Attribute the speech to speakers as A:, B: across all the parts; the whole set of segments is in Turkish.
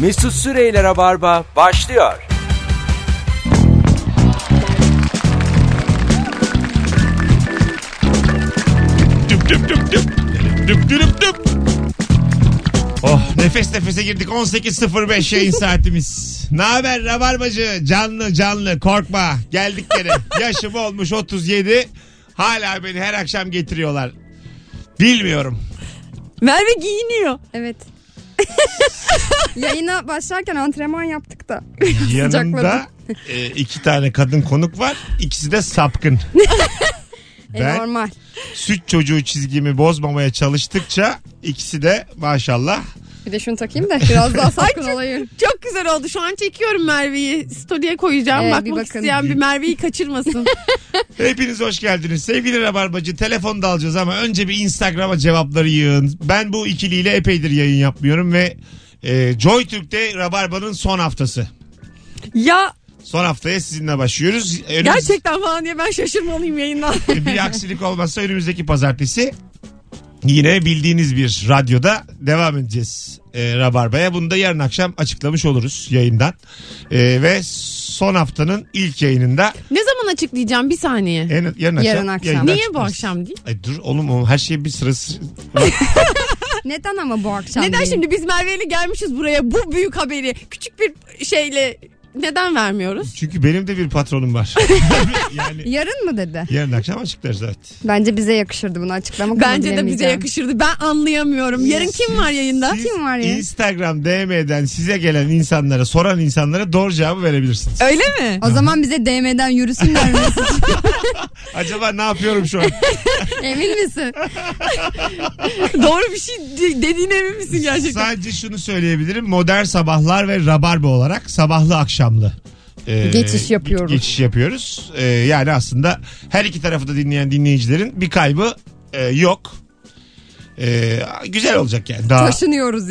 A: Mesut Süreyle Rabarba başlıyor.
B: Düp düp düp düp. Düp düp düp. Oh nefes nefese girdik 18.05 yayın saatimiz. Ne haber Rabarbacı? Canlı canlı korkma. Geldik gene. Yaşım olmuş 37. Hala beni her akşam getiriyorlar. Bilmiyorum.
C: Merve giyiniyor.
D: Evet. Yayına başlarken antrenman yaptık da.
B: Yanımda
D: Sıcakladım.
B: e, iki tane kadın konuk var. İkisi de sapkın.
D: E,
B: ben
D: normal.
B: süt çocuğu çizgimi bozmamaya çalıştıkça ikisi de maşallah
D: Bir de şunu takayım da biraz daha sakın olayım.
C: Çok güzel oldu. Şu an çekiyorum Merve'yi. Story'e koyacağım.
D: Ee, bir
C: Bakmak
D: bakın.
C: isteyen bir Merve'yi kaçırmasın.
B: Hepiniz hoş geldiniz. Sevgili Rabarbacı telefonu da alacağız ama önce bir Instagram'a cevapları yığın. Ben bu ikiliyle epeydir yayın yapmıyorum ve e, Joy Türk'te Rabarba'nın son haftası.
C: ya
B: Son haftaya sizinle başlıyoruz. Önümüz-
C: gerçekten falan diye ben şaşırmalıyım yayından.
B: bir aksilik olmazsa önümüzdeki pazartesi yine bildiğiniz bir radyoda devam edeceğiz e, Rabarba'ya. Bunu da yarın akşam açıklamış oluruz yayından. E, ve son haftanın ilk yayınında
C: ne zaman açıklayacağım? Bir saniye.
B: en, yarın akşam.
D: Yarın akşam.
B: yayından
C: Niye bu
B: açıklarız.
C: akşam değil?
B: Ay dur oğlum o her şey bir sırası.
D: Neden ama bu akşam
C: Neden
D: değil?
C: şimdi biz Merve'yle gelmişiz buraya bu büyük haberi küçük bir şeyle neden vermiyoruz?
B: Çünkü benim de bir patronum var. yani
D: Yarın mı dedi?
B: yarın akşam açıklarız evet.
D: Bence bize yakışırdı bunu açıklamak ama
C: Bence de bize
D: bilemeyeceğim.
C: yakışırdı. Ben anlayamıyorum. Yarın kim var yayında?
B: Siz
D: Kim var ya?
B: Instagram DM'den size gelen insanlara, soran insanlara doğru cevabı verebilirsiniz.
C: Öyle mi?
D: O zaman bize DM'den yürüsünler Mesut.
B: Acaba ne yapıyorum şu an?
D: Emin misin?
C: Doğru bir şey de- dediğine emin misin gerçekten?
B: Sadece şunu söyleyebilirim. Modern sabahlar ve rabarba olarak sabahlı akşamlı. e,
D: Geçiş yapıyoruz.
B: Geçiş yapıyoruz. E, yani aslında her iki tarafı da dinleyen dinleyicilerin bir kaybı e, yok. E, güzel olacak yani. Daha
D: Taşınıyoruz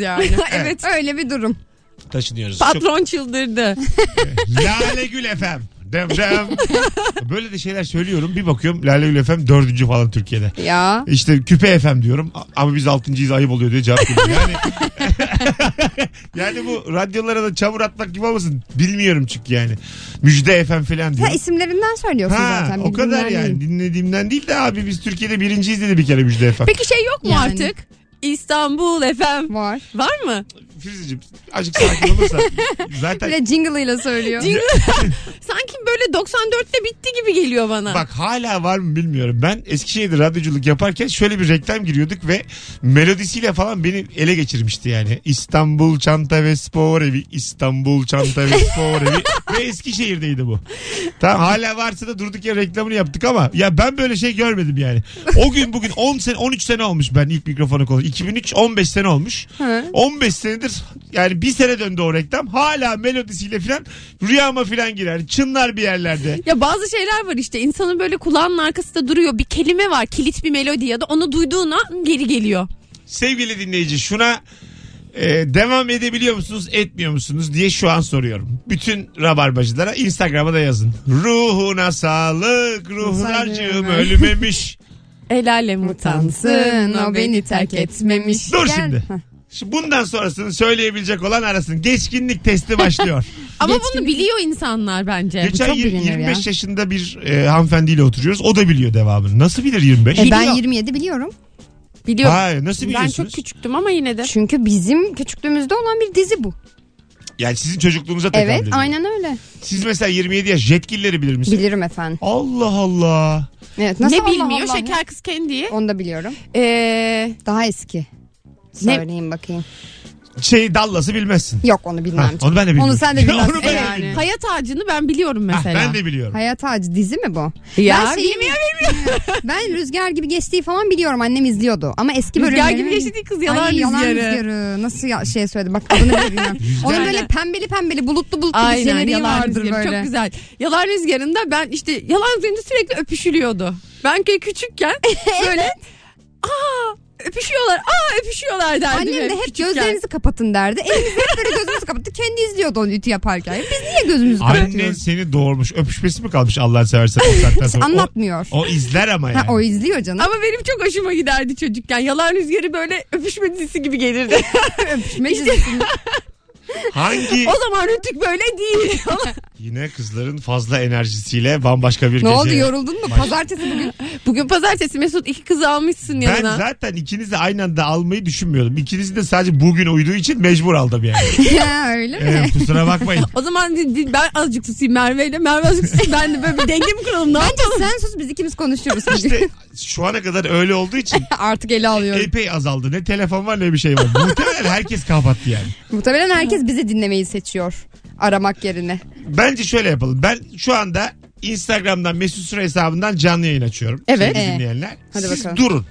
D: yani.
C: Evet.
D: Öyle bir durum.
B: taşınıyoruz. Çok-
C: Patron çıldırdı.
B: Lale Gül FM. Dem dem. Böyle de şeyler söylüyorum. Bir bakıyorum Lale Gül FM dördüncü falan Türkiye'de.
D: Ya.
B: İşte küpe FM diyorum A- ama biz altıncıyız ayıp oluyor diye cevap geliyor. Yani, yani bu radyolara da çamur atmak gibi olmasın. Bilmiyorum çünkü yani. Müjde FM falan diyor.
D: Ha isimlerinden söylüyorsun zaten.
B: o kadar
D: bildiğimden
B: yani
D: değil.
B: dinlediğimden değil de abi biz Türkiye'de birinciyiz dedi bir kere Müjde FM.
C: Peki şey yok mu
D: Yani.
C: artık? İstanbul FM
D: Var.
C: var mı?
B: Firuzeciğim azıcık sakin olursan zaten
D: Bir de jingle ile söylüyor.
C: Jingle- Sanki böyle 94'te bitti gibi geliyor bana.
B: Bak hala var mı bilmiyorum. Ben Eskişehir'de radyoculuk yaparken şöyle bir reklam giriyorduk ve melodisiyle falan beni ele geçirmişti yani. İstanbul Çanta ve Spor Evi, İstanbul Çanta ve Spor Evi ve Eskişehir'deydi bu. Tamam hala varsa da durduk ya reklamını yaptık ama ya ben böyle şey görmedim yani. O gün bugün 10 sene 13 sene olmuş ben ilk mikrofonu kullandım. 2003 15 sene olmuş.
D: Hı.
B: 15 senedir yani bir sene döndü o reklam. Hala melodisiyle falan rüyama falan girer. Çınlar bir yerlerde.
C: Ya bazı şeyler var işte insanın böyle kulağının arkasında duruyor bir kelime var kilit bir melodi ya da onu duyduğuna geri geliyor.
B: sevgili dinleyici şuna e, devam edebiliyor musunuz etmiyor musunuz diye şu an soruyorum. Bütün rabarbacılara Instagram'a da yazın. Ruhuna sağlık ruhunarcığım
D: Ruhsarcığım.
B: ölmemiş.
C: El alem utansın o beni terk etmemiş.
B: Dur
D: Gel.
B: şimdi.
D: Heh.
B: Şimdi Bundan sonrasını söyleyebilecek olan arasın. Geçkinlik testi başlıyor.
C: Ama
D: Geçkin-
C: bunu biliyor insanlar bence.
B: Geçen
D: çok
B: yir-
D: bilinir
B: 25 yaşında bir e, hanımefendiyle oturuyoruz. O da biliyor devamını. Nasıl bilir 25?
D: E, ben
C: Biliyor.
D: 27 biliyorum.
C: Biliyor.
B: Hayır nasıl
C: ben
B: biliyorsunuz?
C: çok küçüktüm ama yine de.
D: Çünkü bizim küçüklüğümüzde olan bir dizi bu.
B: Yani sizin çocukluğunuza tekabül
D: Evet
B: ediyor.
D: aynen öyle.
B: Siz mesela 27 yaş yetkilileri bilir misiniz?
D: Bilirim efendim.
B: Allah Allah.
D: Evet, nasıl
C: ne
D: Allah
C: bilmiyor
D: Allah
C: şeker kız kendiyi.
D: ya? Onu da biliyorum.
C: Ee,
D: Daha eski. Söyleyeyim bakayım.
B: Şey dallası bilmezsin.
D: Yok onu
B: Ha,
D: bilmem.
B: onu ben de bilmiyorum.
D: Onu sen de bilmezsin
B: Onu ben de
D: yani.
B: bilmiyorum.
C: hayat ağacını ben biliyorum
B: Ha,
C: mesela.
B: Ah, ben de biliyorum.
D: Hayat Ağacı dizi mi bu?
C: Ya
D: Ben şeyi
C: bilmiyor
D: ben Rüzgar gibi geçtiği falan biliyorum. Annem izliyordu. Ama eski
C: Rüzgar
D: bölümleri...
C: gibi geçti değil kız, yalan
D: Ay, Yalan
C: rüzgarı.
D: rüzgarı. Nasıl ya, şey söyledi bak adını bile bilmiyorum. Onun böyle
C: Aynen.
D: pembeli pembeli bulutlu bulutlu bir
C: Aynen
D: jeneriği
C: yalan
D: vardır
C: rüzgarı
D: böyle.
C: çok güzel. Yalan rüzgarında ben işte yalan rüzgarında sürekli öpüşülüyordu. Ben ki küçükken böyle aa öpüşüyorlar aa öpüşüyorlar derdim.
D: Annem de hep
C: küçükken.
D: gözlerinizi kapatın derdi. Elimizi hep böyle gözümüzü kapattı. Kendi izliyordu onu ütü yaparken. Biz niye gözümüzü
B: Annen
D: kapatıyoruz?
B: seni doğurmuş. Öpüşmesi mi kalmış Allah'ın seversen o saatten sonra?
D: Anlatmıyor.
B: O, o izler ama
D: Ha, o
B: yani.
D: izliyor canım.
C: Ama benim çok hoşuma giderdi çocukken. Yalan rüzgarı böyle öpüşme dizisi gibi gelirdi.
D: Öpüşme dizisi.
B: Hangi
C: O zaman Rütük böyle değil.
B: yine kızların fazla enerjisiyle bambaşka bir
D: Ne
B: gece.
D: oldu yoruldun mu? Pazartesi bugün.
C: Bugün pazartesi Mesut iki kızı almışsın
B: Ben
C: yanına.
B: zaten ikinizi de aynı anda almayı düşünmüyordum. İkinizi de sadece bugün uyduğu için mecbur aldım yani.
D: Ha, öyle mi?
B: Ee, kusura bakmayın.
C: O zaman di- di- ben azıcık susayım Merve'yle. Merve azıcık susayım. Ben de böyle bir denge mi kuralım? Ne
D: Bence
C: yapalım?
D: sen sus biz ikimiz konuşuruz. bugün.
B: İşte E- şu ana kadar öyle olduğu için
D: Artık ele alıyorum.
B: epey azaldı. Ne telefon var ne bir şey var. Muhtemelen herkes kapattı yani.
D: Muhtemelen herkes bizi dinlemeyi seçiyor. Aramak yerine.
B: Bence şöyle yapalım. Ben şu anda Instagram'dan Mesut Süre hesabından canlı yayın açıyorum.
C: Evet.
B: Sevgili
D: Ee,
B: dinleyenler.
D: hadi
B: Siz
D: bakalım.
B: durun.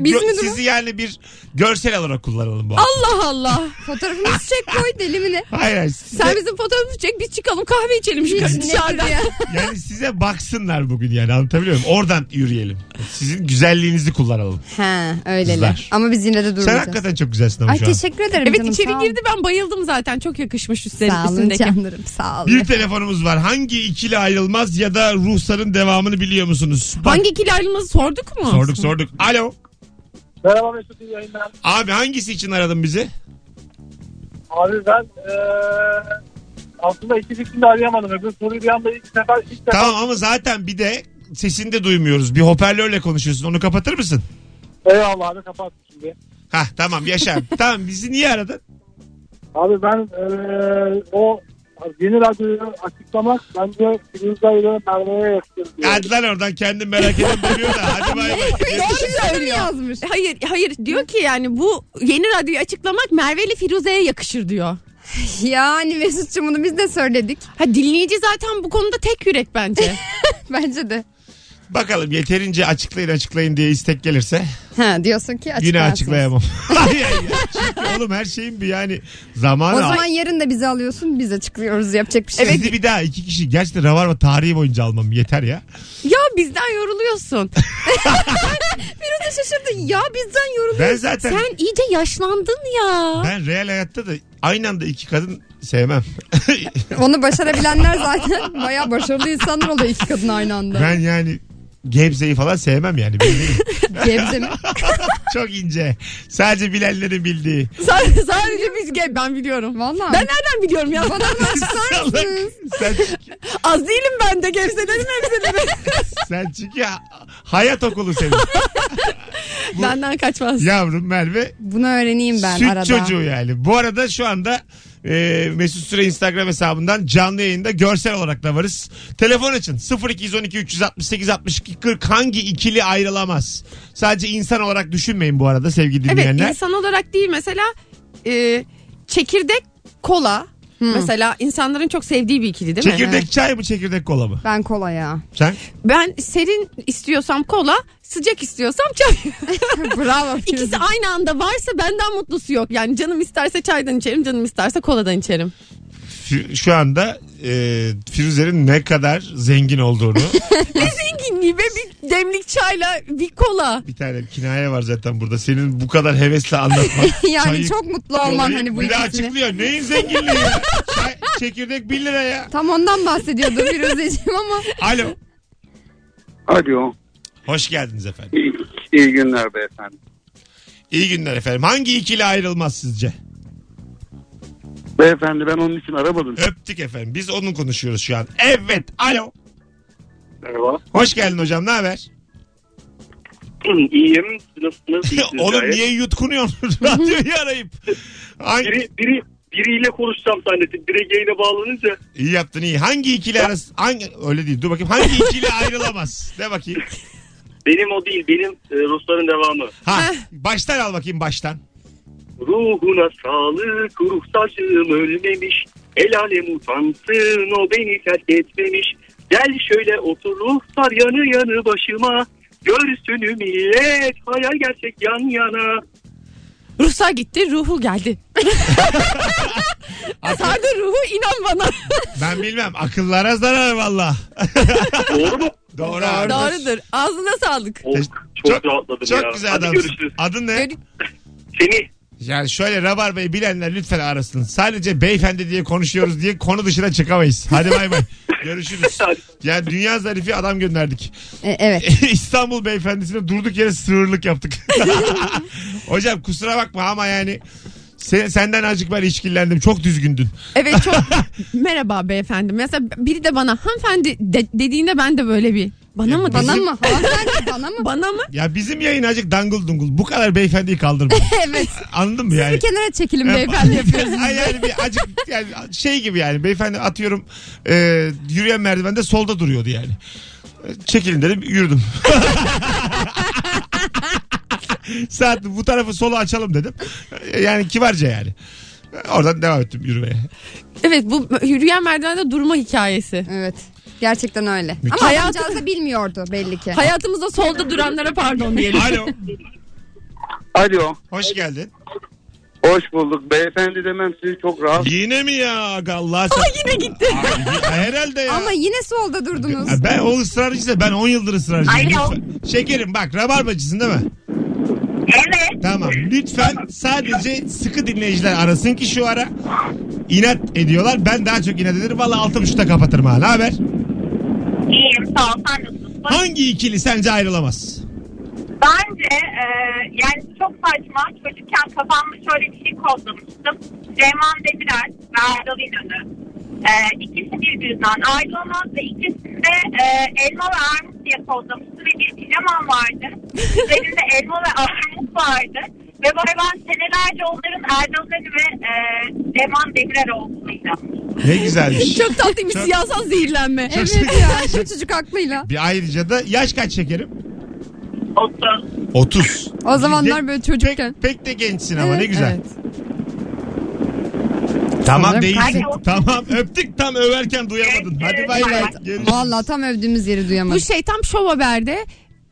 D: mi durun?
B: Sizi yani bir görsel olarak kullanalım bu. hafta.
C: Allah Allah.
B: Ah.
D: Fotoğrafımızı çek koy deli mi ne?
B: Hayır hayır. Size,
C: Sen bizim fotoğrafımızı çek biz çıkalım kahve içelim şu
D: Biz
C: dışarıda.
D: nedir ya?
B: yani size baksınlar bugün yani anlatabiliyor muyum? Oradan yürüyelim. Sizin güzelliğinizi kullanalım.
D: Ha öyleler.
B: Kızlar.
D: Ama biz yine de
B: Sen
D: durmayacağız.
B: hakikaten çok güzelsin ama
D: Ay
B: şu an.
D: teşekkür ederim
C: Evet
D: canım.
C: içeri
D: sağ ol.
C: girdi ben bayıldım zaten çok yakışmış üstleri,
D: Sağ olun
C: üstündeki.
D: canlarım sağ olun.
B: Bir telefonumuz var. Hangi ikili ayrılmaz ya da ruhsarın devamını biliyor musunuz? Bak,
C: Hangi ikili ayrılması sorduk mu?
B: Sorduk sorduk. Alo.
E: Merhaba Mesut iyi yayınlar.
B: Abi hangisi için aradın bizi?
E: Abi ben eee aslında iki fikrini arayamadım. Öbür soruyu bir anda ilk sefer ilk sefer
B: Tamam ama zaten bir de sesini de duymuyoruz. Bir hoparlörle konuşuyorsun. Onu kapatır mısın?
E: eyvallah abi kapat şimdi.
B: Hah tamam yaşa. tamam bizi niye aradın?
E: Abi ben eee o yeni radyoyu açıklamak bence Firuzda ile Merve'ye yakışır diyor.
B: Hadi lan oradan kendim merak edip duruyor da. Hadi bay bay.
D: Doğru söylüyor. yazmış.
C: E, Hayır hayır diyor ki yani bu yeni radyoyu açıklamak Merve ile Firuze'ye yakışır diyor.
D: Yani Mesut'cum bunu biz de söyledik.
C: Ha dinleyici zaten bu konuda tek yürek bence.
D: Bence de.
B: Bakalım yeterince açıklayın açıklayın diye istek gelirse
D: Ha diyorsun ki açıklarsın.
B: yine açıklayamam. Hayır ya. Çünkü oğlum her şeyin bir yani zamanı.
D: O zaman yarın da bizi alıyorsun biz açıklıyoruz yapacak bir şey.
B: Sizi
D: yok.
B: bir daha iki kişi gerçekten ravarma tarihi boyunca almam yeter ya.
C: ya bizden yoruluyorsun.
D: Biraz da şaşırdın ya bizden yoruluyor.
B: Ben zaten
C: Sen iyice yaşlandın ya.
B: ben real hayatta da aynı anda iki kadın sevmem.
D: Onu başarabilenler zaten bayağı başarılı insanlar oluyor iki kadın aynı anda.
B: ben yani Gebze'yi falan sevmem yani. Bilmiyorum.
D: Gebze mi?
B: Çok ince. Sadece bilenlerin bildiği.
C: Sadece, sadece biz gel ben biliyorum.
D: Valla.
C: Ben nereden biliyorum ya? Bana
B: Salak. sen,
C: Az değilim ben de gevzelerim hepsini.
B: sen çünkü ha- hayat okulu senin.
C: Benden kaçmaz.
B: Yavrum Merve
D: Bunu öğreneyim ben
B: süt
D: arada.
B: çocuğu yani. Bu arada şu anda e, Mesut Süre Instagram hesabından canlı yayında görsel olarak da varız. Telefon açın 0212 368 62 40 hangi ikili ayrılamaz? Sadece insan olarak düşünmeyin bu arada sevgili
C: Evet
B: dinleyenler.
C: insan olarak değil mesela e, çekirdek kola mesela insanların çok sevdiği bir ikili değil mi?
B: çekirdek çay mı çekirdek kola mı?
D: Ben kola ya.
B: Sen?
C: Ben serin istiyorsam kola, sıcak istiyorsam çay.
D: Bravo.
C: İkisi aynı anda varsa benden mutlusu yok. Yani canım isterse çaydan içerim, canım isterse koladan içerim.
B: Fi- Şu anda e, Firuze'nin ne kadar zengin olduğunu
C: Zenginliği ve bir demlik çayla bir kola.
B: bir tane kinaye var zaten burada. Senin bu kadar hevesle anlatman.
D: yani
B: Çayı-
D: çok mutlu olman
B: Kolayı
D: hani bu
B: Bir de
D: ikisini.
B: açıklıyor. Neyin zenginliği ya? Çay- çekirdek 1 lira ya.
D: Tam ondan bahsediyordu Firuzeciğim ama.
B: Alo.
F: Alo.
B: Hoş geldiniz efendim.
F: İyi, iyi günler beyefendi.
B: İyi günler efendim. Hangi ikili ayrılmaz sizce?
F: Beyefendi ben onun için aramadım.
B: Öptük efendim. Biz onun konuşuyoruz şu an. Evet. Alo.
F: Merhaba.
B: Hoş geldin hocam. Ne haber?
F: İyiyim. Nasılsınız? İyisiniz
B: Oğlum
F: gayet.
B: niye yutkunuyorsun? Radyoyu arayıp. Hangi...
F: Biri, biri, biriyle konuşacağım zannettim. Direkt yayına bağlanınca.
B: İyi yaptın iyi. Hangi ikili arası... Hangi... Öyle değil. Dur bakayım. Hangi ikili ayrılamaz? De bakayım.
F: Benim o değil. Benim e, Rusların devamı.
B: Ha. Baştan al bakayım baştan.
F: Ruhuna sağlık. Ruh saçım ölmemiş. El alem utansın. O beni terk etmemiş. Gel şöyle otur ruhlar yanı yanı başıma. Görsün millet. Hayal gerçek yan yana.
C: Ruhsar gitti, ruhu geldi. Sardı ruhu inan bana.
B: Ben bilmem. Akıllara zarar valla.
F: Doğru mu?
B: Doğru abi.
C: Doğrudur. Ağzına sağlık.
F: Oh, çok, rahatladım
B: çok
F: ya.
B: güzel
F: Hadi
B: adamsın.
F: görüşürüz.
B: Adın ne?
F: Seni
B: Yani şöyle Rabarba'yı bilenler lütfen arasın. Sadece beyefendi diye konuşuyoruz diye konu dışına çıkamayız. Hadi bay bay. Görüşürüz. Yani dünya zarifi adam gönderdik.
D: E, evet.
B: İstanbul beyefendisine durduk yere sığırlık yaptık. Hocam kusura bakma ama yani Sen, senden azıcık ben işkillendim. Çok düzgündün.
C: Evet çok merhaba beyefendi. Mesela biri de bana hanımefendi de- dediğinde ben de böyle bir bana
B: Ya
C: mı
D: Bana
C: dedi?
D: mı? Hanımefendi bana mı?
C: Bana mı?
B: Ya bizim yayın azıcık dangıl dungul. Bu kadar beyefendiyi kaldırma.
D: evet.
B: Anladın mı yani?
D: Bir kenara çekilin
B: Ya,
D: beyefendi yapıyoruz.
B: Ay yani bir acık yani şey gibi yani beyefendi atıyorum e, yürüyen merdivende solda duruyordu yani. E, Çekilin dedim yürüdüm. Saat bu tarafı solu açalım dedim. E, Yani kibarca yani. E, Oradan devam ettim yürümeye.
C: Evet bu yürüyen merdivende durma hikayesi.
D: Evet. Gerçekten öyle.
B: Müthiş.
D: Ama
C: Hayatı-
D: adamcağız da bilmiyordu belli ki.
C: Hayatımızda solda duranlara pardon diyelim.
B: Alo.
E: Alo.
B: Hoş geldin.
E: Hoş bulduk. Beyefendi demem sizi çok rahat.
B: Yine mi ya? Aga Allah sen...
C: Yine gitti.
B: Ay, Herhalde ya.
D: Ama yine solda durdunuz.
B: Ya Ben o ısrarcıysa ben 10 yıldır ısrarcıyım. Lütfen. Şekerim bak rabarbacısın değil mi? Evet. Tamam lütfen sadece sıkı dinleyiciler arasın ki şu ara inat ediyorlar. Ben daha çok inat ederim. Valla 6.30'da kapatırım ha. Ne haber?
G: İyiyim sağ ol sen nasılsın?
B: Hangi ikili sence ayrılamaz?
G: Bence e, yani çok saçma çocukken kafamda şöyle bir şey kodlamıştım. Süleyman Demirel ve Erdal İnönü. E, ikisi birbirinden ayrılamaz ve ikisinde e, elma ve armut diye kodlamıştı ve bir pijamam vardı. Üzerinde elma ve armut vardı. Ve böyle ben senelerce onların Erdal İnönü ve e, Süleyman Demirel olduğunu inanmıştım.
B: Ne güzelmiş.
C: Çok tatlıymış
B: Çok- şey-
C: siyasal zehirlenme.
D: Evet ya şu çocuk aklıyla.
B: Bir ayrıca da yaş kaç şekerim?
G: Otuz.
B: 30.
D: O zamanlar böyle çocukken.
B: Pek, pek de gençsin ama ne
D: Evet,
B: güzel.
D: evet.
B: Tamam
D: Sanırım-
B: değilsin.
G: Hadi.
B: Tamam öptük tam överken duyamadın. Hadi bay bay.
G: Evet.
B: Görüşürüz.
D: Vallahi tam övdüğümüz yeri
C: Bu
D: duyamadım.
C: şey tam şov haberde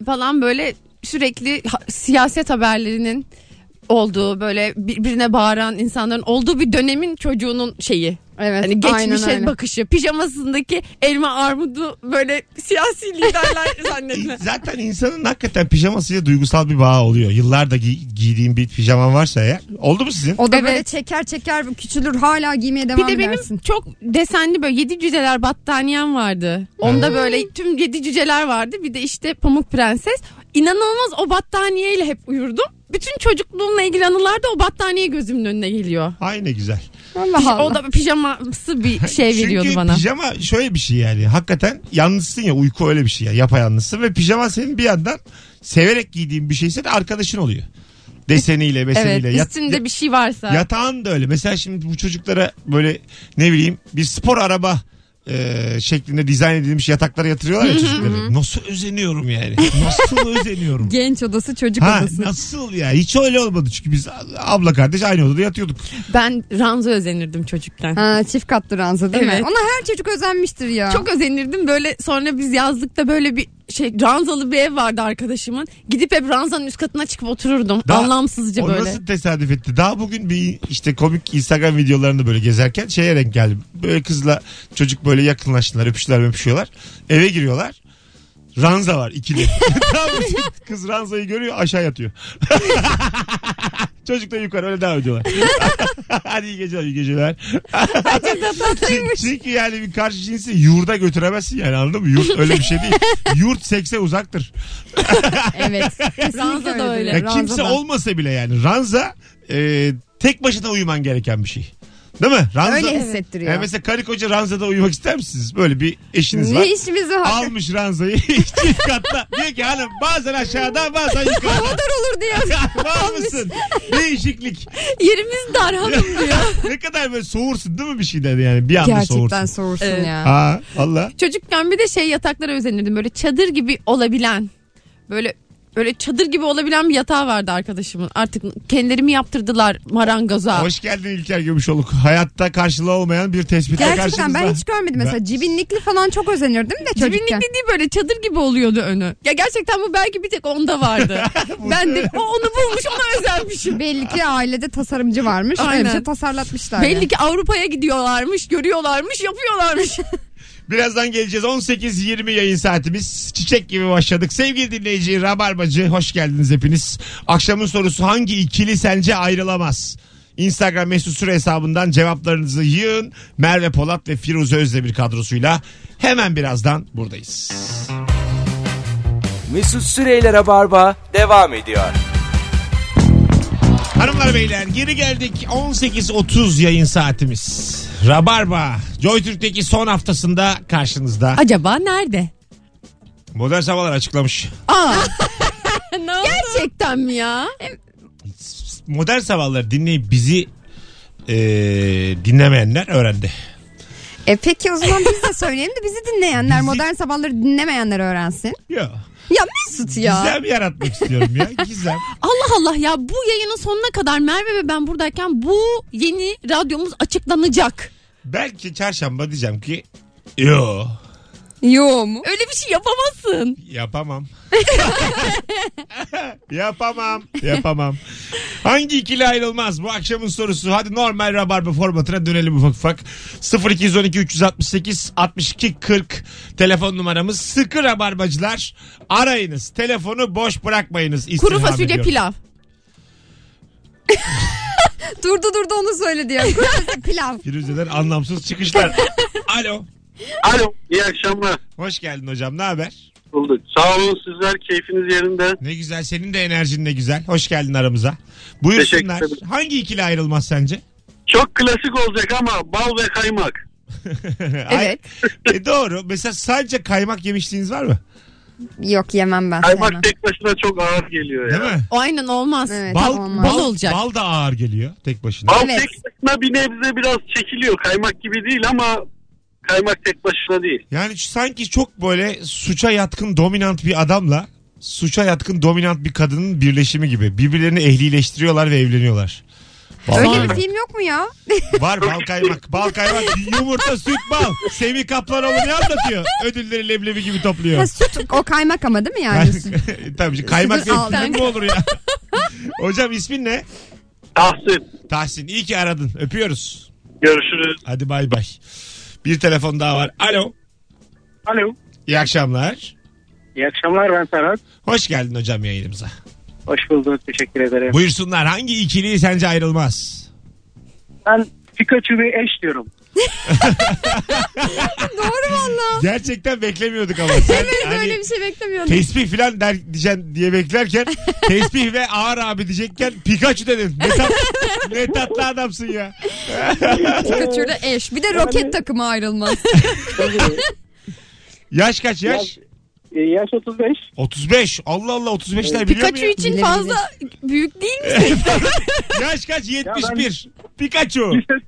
C: falan böyle sürekli ha- siyaset haberlerinin olduğu böyle birbirine bağıran insanların olduğu bir dönemin çocuğunun şeyi.
D: Evet.
C: Hani
D: aynen
C: geçmişe
D: öyle.
C: bakışı. Pijamasındaki elma armudu böyle siyasi liderler zannetme.
B: Zaten insanın hakikaten pijamasıyla duygusal bir bağ oluyor. Yıllarda gi- giydiğim bir pijaman varsa eğer. Oldu mu sizin?
D: O da böyle
C: Evet.
D: çeker çeker küçülür hala giymeye
C: Bir
D: devam
C: de benim
D: edersin.
C: çok desenli böyle yedi cüceler battaniyem vardı. Onda böyle tüm yedi cüceler vardı. Bir de işte Pamuk Prenses. İnanılmaz o battaniyeyle hep uyurdum. Bütün çocukluğumla ilgili anılar da o battaniye gözümün önüne geliyor.
B: Ay ne güzel.
D: Allah Allah.
C: O da pijaması bir şey veriyordu
B: Çünkü
C: bana.
B: pijama şöyle bir şey yani. Hakikaten yalnızsın ya uyku öyle bir şey ya. Yapayalnızsın ve pijama senin bir yandan severek giydiğin bir şeyse de arkadaşın oluyor. Deseniyle,
C: evet
B: beseniyle. yat-
C: üstünde bir şey varsa.
B: Yatağın da öyle. Mesela şimdi bu çocuklara böyle ne bileyim bir spor araba e, şeklinde dizayn edilmiş yataklara yatırıyorlar ya çocukları. Nasıl özeniyorum yani. Nasıl özeniyorum.
D: Genç odası çocuk
B: Ha
D: odası.
B: nasıl ya? Hiç öyle olmadı çünkü biz abla kardeş aynı odada yatıyorduk.
C: Ben ranzo özenirdim çocukken.
D: Ha, çift katlı ranza değil
C: Evet.
D: mi? Ona her çocuk özenmiştir ya.
C: Çok özenirdim böyle sonra biz yazlıkta böyle bir şey ranzalı bir ev vardı arkadaşımın. Gidip hep ranzanın üst katına çıkıp otururdum.
B: Daha-
C: Anlamsızca
B: o
C: böyle.
B: nasıl tesadüf etti? Daha bugün bir işte komik Instagram videolarını böyle gezerken şeye denk geldim. Böyle kızla çocuk böyle yakınlaştılar, öpüştüler, öpüşüyorlar. Eve giriyorlar. Ranza var ikili. Tam kız ranzayı görüyor aşağı yatıyor. Çocuk da yukarı öyle devam ediyorlar. Hadi iyi geceler iyi geceler. Çünkü yani bir karşı cinsi yurda götüremezsin yani anladın mı? Yurt öyle bir şey değil. Yurt sekse uzaktır.
D: Evet.
C: Ranza da öyle.
B: Ya kimse
D: Ranzada.
B: olmasa bile yani ranza e, tek başına uyuman gereken bir şey. Değil mi? Ranza,
D: Öyle hissettiriyor.
B: Yani mesela karı koca ranzada uyumak ister misiniz? Böyle bir eşiniz var.
D: Ne işimiz var?
B: Almış ranzayı çift katla. Diyor ki hanım bazen aşağıdan bazen yukarıdan.
D: Kadar olur diye.
B: Var mısın? Değişiklik.
C: Yerimiz dar hanım diyor.
B: ne kadar böyle soğursun değil mi bir şeyden yani bir anda
D: Gerçekten
B: soğursun.
D: soğursun
C: Evet.
D: ya.
B: Ha valla.
C: Çocukken bir de şey yataklara özenirdim. Böyle çadır gibi olabilen. Böyle böyle çadır gibi olabilen bir yatağı vardı arkadaşımın. Artık kendileri mi yaptırdılar marangoza.
B: Hoş geldin İlker Gümüşoluk. Hayatta karşılığı olmayan bir tespitle
D: Gerçekten ben
B: karşınızda.
D: hiç görmedim mesela.
B: Ben-
D: Cibinlikli falan çok özenirdim de çocukken.
C: Cibinlikli değil böyle çadır gibi oluyordu önü. Ya gerçekten bu belki bir tek onda vardı. ben de o onu bulmuş ona özenmişim.
D: Belli ki ailede tasarımcı varmış.
C: Aynen.
D: Öyle bir şey tasarlatmışlar.
C: Belli
D: yani.
C: ki Avrupa'ya gidiyorlarmış, görüyorlarmış, yapıyorlarmış.
B: Birazdan geleceğiz. 18-20 yayın saatimiz. Çiçek gibi başladık. Sevgili dinleyici, Rabarbacı hoş geldiniz hepiniz. Akşamın sorusu hangi ikili sence ayrılamaz? Instagram mesut süre hesabından cevaplarınızı yığın. Merve Polat ve Firuze Özdemir kadrosuyla hemen birazdan buradayız.
A: Mesut Süreyler'e barba devam ediyor.
B: Hanımlar beyler geri geldik 18.30 yayın saatimiz. Rabarba Joy Türk'teki son haftasında karşınızda.
C: Acaba nerede?
B: Modern Sabahlar açıklamış.
C: Aa. Gerçekten mi ya?
B: Modern Sabahlar dinleyip bizi eee, dinlemeyenler öğrendi.
D: E peki o zaman biz de söyleyelim de bizi dinleyenler,
B: Bizi-
D: modern sabahları dinlemeyenler öğrensin.
B: Yok.
D: Ya Mesut ya.
B: Gizem yaratmak istiyorum ya. Gizem.
C: Allah Allah ya bu yayının sonuna kadar Merve ve ben buradayken bu yeni radyomuz açıklanacak.
B: Belki çarşamba diyeceğim ki yo
D: Yo mu?
C: Öyle bir şey yapamazsın.
B: yapamam. yapamam. Yapamam. Hangi ikili ayrılmaz bu akşamın sorusu. Hadi normal rabarba formatına dönelim ufak ufak. 0212 368 62 40 telefon numaramız. Sıkı rabarbacılar arayınız. Telefonu boş bırakmayınız.
C: Kuru
B: İstirham
C: fasulye
B: ediyorum.
C: pilav.
D: Durdu durdu onu söyledi ya. Kuru fasulye pilav.
B: Firuze'den anlamsız çıkışlar. Alo.
H: Alo iyi akşamlar.
B: Hoş geldin hocam. Ne haber?
H: Bulduk. Sağ olun sizler keyfiniz yerinde.
B: Ne güzel. Senin de enerjin ne güzel. Hoş geldin aramıza. Buyursunlar.
H: Teşekkür ederim.
B: Hangi ikili ayrılmaz sence?
H: Çok klasik olacak ama bal ve kaymak.
B: Ay- E doğru. Mesela sadece kaymak yemişliğiniz var mı?
D: Yok yemem ben.
H: Kaymak
D: sevmem.
H: tek başına çok ağır geliyor ya.
B: Değil mi?
C: O aynen olmaz.
D: Evet,
B: Bal,
D: tamam,
B: bal,
D: olmaz.
C: olacak.
B: bal da ağır geliyor tek başına.
H: Bal
D: Evet.
H: tek başına bir nebze biraz çekiliyor. Kaymak gibi değil ama kaymak tek başına değil.
B: Yani şu- sanki çok böyle suça yatkın dominant bir adamla suça yatkın dominant bir kadının birleşimi gibi. Birbirlerini ehlileştiriyorlar ve evleniyorlar. Bal-
D: Öyle bir film yok mu ya?
B: Var bal kaymak. Bal kaymak. Yumurta, süt, bal. Semih Kaplanoğlu ne anlatıyor? Ödülleri leblebi gibi topluyor.
D: Ha, süt o kaymak ama değil mi yani?
B: Yani,
D: Süt.
B: tabii ki kaymak
D: Sizin
B: değil
D: aldığınız-
B: mi olur ya? Hocam ismin ne?
H: Tahsin.
B: Tahsin. İyi ki aradın. Öpüyoruz.
H: Görüşürüz.
B: Hadi bay bay. Bir telefon daha var. Alo.
E: Alo.
B: İyi akşamlar.
E: İyi akşamlar ben Serhat.
B: Hoş geldin hocam yayınımıza.
E: Hoş bulduk. Teşekkür ederim.
B: Buyursunlar hangi ikili sence ayrılmaz?
E: Ben Pikachu ve eş diyorum.
D: Doğru valla.
B: Gerçekten beklemiyorduk ama. Sen
D: Evet
B: hani
D: öyle bir şey beklemiyordum.
B: Tesbih filan der, diyeceksin diye beklerken tesbih ve ağır abi diyecekken Pikachu dedin. Ne, tat, ne tatlı adamsın ya.
D: Pikachu'yla eş. Bir de roket takımı ayrılmaz.
B: Yaş kaç yaş?
E: Ee, yaş 35.
B: 35. Allah Allah 35'ler biliyor
C: Pikachu
B: muyum?
C: için
D: Bilemedim.
C: fazla büyük değil mi?
B: Yaş kaç? 71. Pikachu.
E: Lise...